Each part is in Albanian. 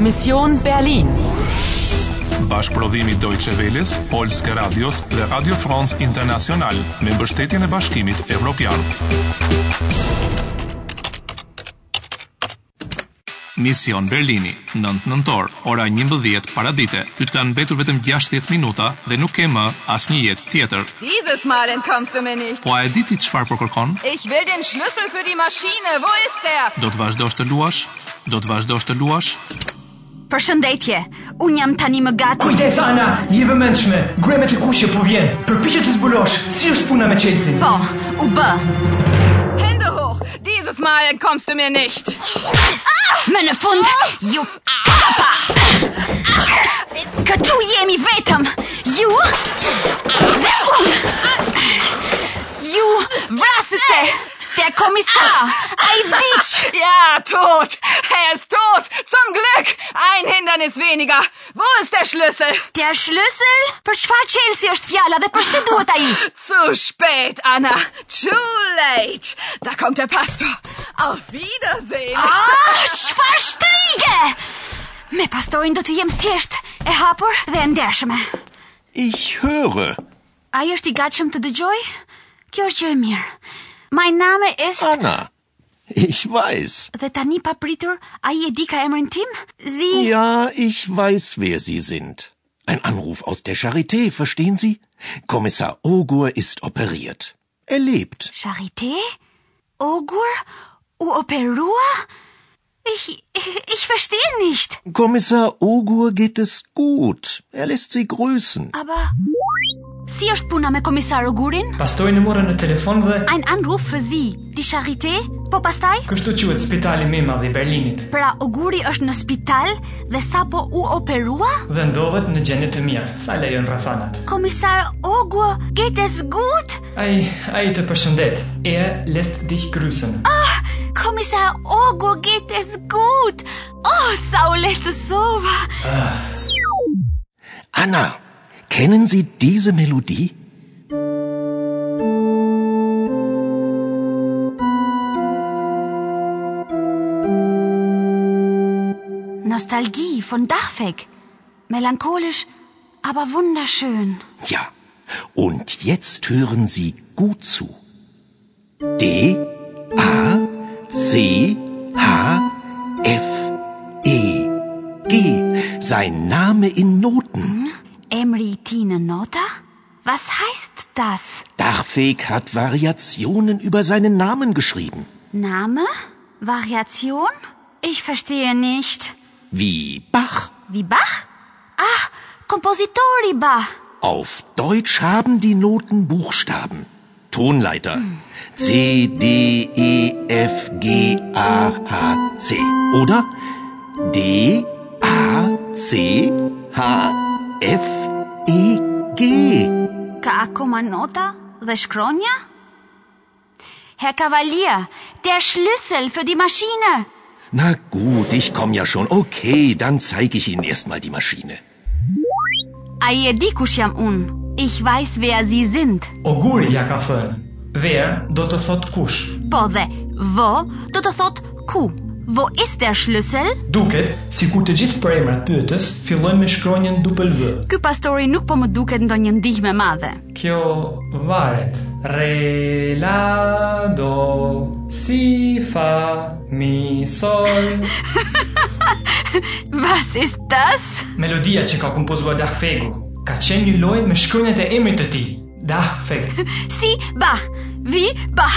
Mission Berlin. Bashkëprodhimi Deutsche Welles, Polske Radios dhe Radio France International me mbështetjen e Bashkimit Evropian. Mision Berlini, 9 nëntor, ora 11 paradite. Ty të kanë mbetur vetëm 60 minuta dhe nuk ke më asnjë jetë tjetër. Dieses Mal entkommst du mir nicht. Po a e di ti çfarë po kërkon? Ich will den Schlüssel für die Maschine. Wo ist er? Do të vazhdosh të luash? Do të vazhdosh të luash? Përshëndetje, unë jam tani më gati. Kujdes Ana, je vëmendshme. Greme që kushje po vjen. Përpiqet të zbulosh si është puna me Chelsea. Po, u bë. Hände hoch. Dieses Mal entkommst du mir nicht. Më në fund, ju apa! Këtu jemi vetëm, ju dhe unë. Ju vrasëse, te komisar, a i vdiq. Ja, tot. Er ist tot. Zum Glück. Ein Hindernis weniger. Wo ist der Schlüssel? Te është lësëll? Për çfarë Chelsea është fjala dhe përse duhet a i? Zu spät, Anna. Too late. Da kommt der Pastor. Auf Wiedersehen. Ah, çfarë shtrige! Me pastorin do të jem thjesht, e hapur dhe e ndershme. Ich höre. A i është i gatshëm të dëgjoj? Kjo është gjë e mirë. My name ist... Anna. Ich weiß. Dhe tani pa pritur, a i e di ka emrin tim? Zi... Ja, ich weiß, wer Sie sind. Ein Anruf aus der Charité, verstehen Sie? Kommissar Ogur ist operiert. Er lebt. Charité? Ogur? U operua? Ich, ich, ich verstehe nicht. Kommissar Ogur geht es gut. Er lässt Sie grüßen. Aber... Si është puna me komisar Ogurin? Pastori në morën në telefon dhe Ein Anruf für Sie, die Charité? Po pastaj? kështu quhet spitali më i madh i Berlinit Pra Oguri është në spital dhe sapo u operua? dhe ndodhet në gjendje të mirë, sa lejon rrethanat. Komisar Ogur, geht es gut? Ai, ai të përshëndet. Er lässt dich grüßen. Komisar Ogur, geht es gut? Oh, sa u lehtësova. Anna, kennen Sie diese Melodie? Nostalgie von Dachweg. Melancholisch, aber wunderschön. Ja. Und jetzt hören Sie gut zu. D A C H F E G. Sein Name in Noten. Emri Tine Nota? Was heißt das? Dachfeg hat Variationen über seinen Namen geschrieben. Name? Variation? Ich verstehe nicht. Wie Bach. Wie Bach? Ah, Kompositori Bach. Auf Deutsch haben die Noten Buchstaben. Tonleiter. C, D, E, F, G, A, H, C. Oder? D, A, C, H, F, E, G. Ka akoma nota dhe shkronja? Herr Kavalier, der Schlüssel für die Maschine. Na gut, ich komm ja schon. Okay, dann zeige ich Ihnen erstmal die Maschine. Ai e di kush jam unë. Ich weiß wer Sie sind. Oguri ja ka thënë. Ver do të thot kush. Po dhe vo do të thot ku. Vo ist der Schlüssel? Duket sikur të gjithë përemrat pyetës fillojnë me shkronjën W. Ky pastori nuk po më duket ndonjë ndihmë e madhe. Kjo varet. Re, la, do, si, fa, mi, sol. Was ist das? Melodia që ka kompozuar Dachfegu ka qenë një lojë me shkronjat e emrit të tij. Dachfeg. Si ba, vi ba.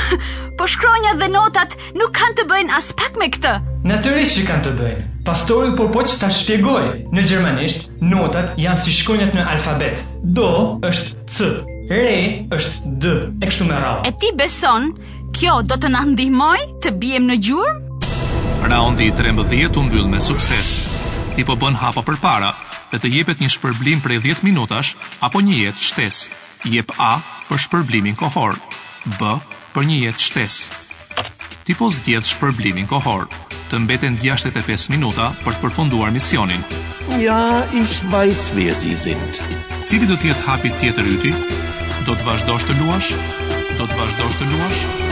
Po shkronjat dhe notat nuk kanë të bëjnë as pak me këtë. Natyrisht që kanë të bëjnë. Pastori po po që ta shpjegoj. Në gjermanisht, notat janë si shkronjat në alfabet. Do është C, re është D, e kështu me radhë. E ti beson, kjo do të na ndihmoj të bijem në gjurmë? Raundi i 13 u mbyll me sukses. Ti po bën hapa përpara dhe të jepet një shpërblim prej 10 minutash apo një jetë shtesë. Jep A për shpërblimin kohor, B për një jetë shtesë. Ti po zgjedh shpërblimin kohor. Të mbeten 65 minuta për të përfunduar misionin. Ja, ich weiß, wer Sie sind. Cili do të jetë hapi tjetër yti? Do të vazhdosh të luash? Do të vazhdosh të luash?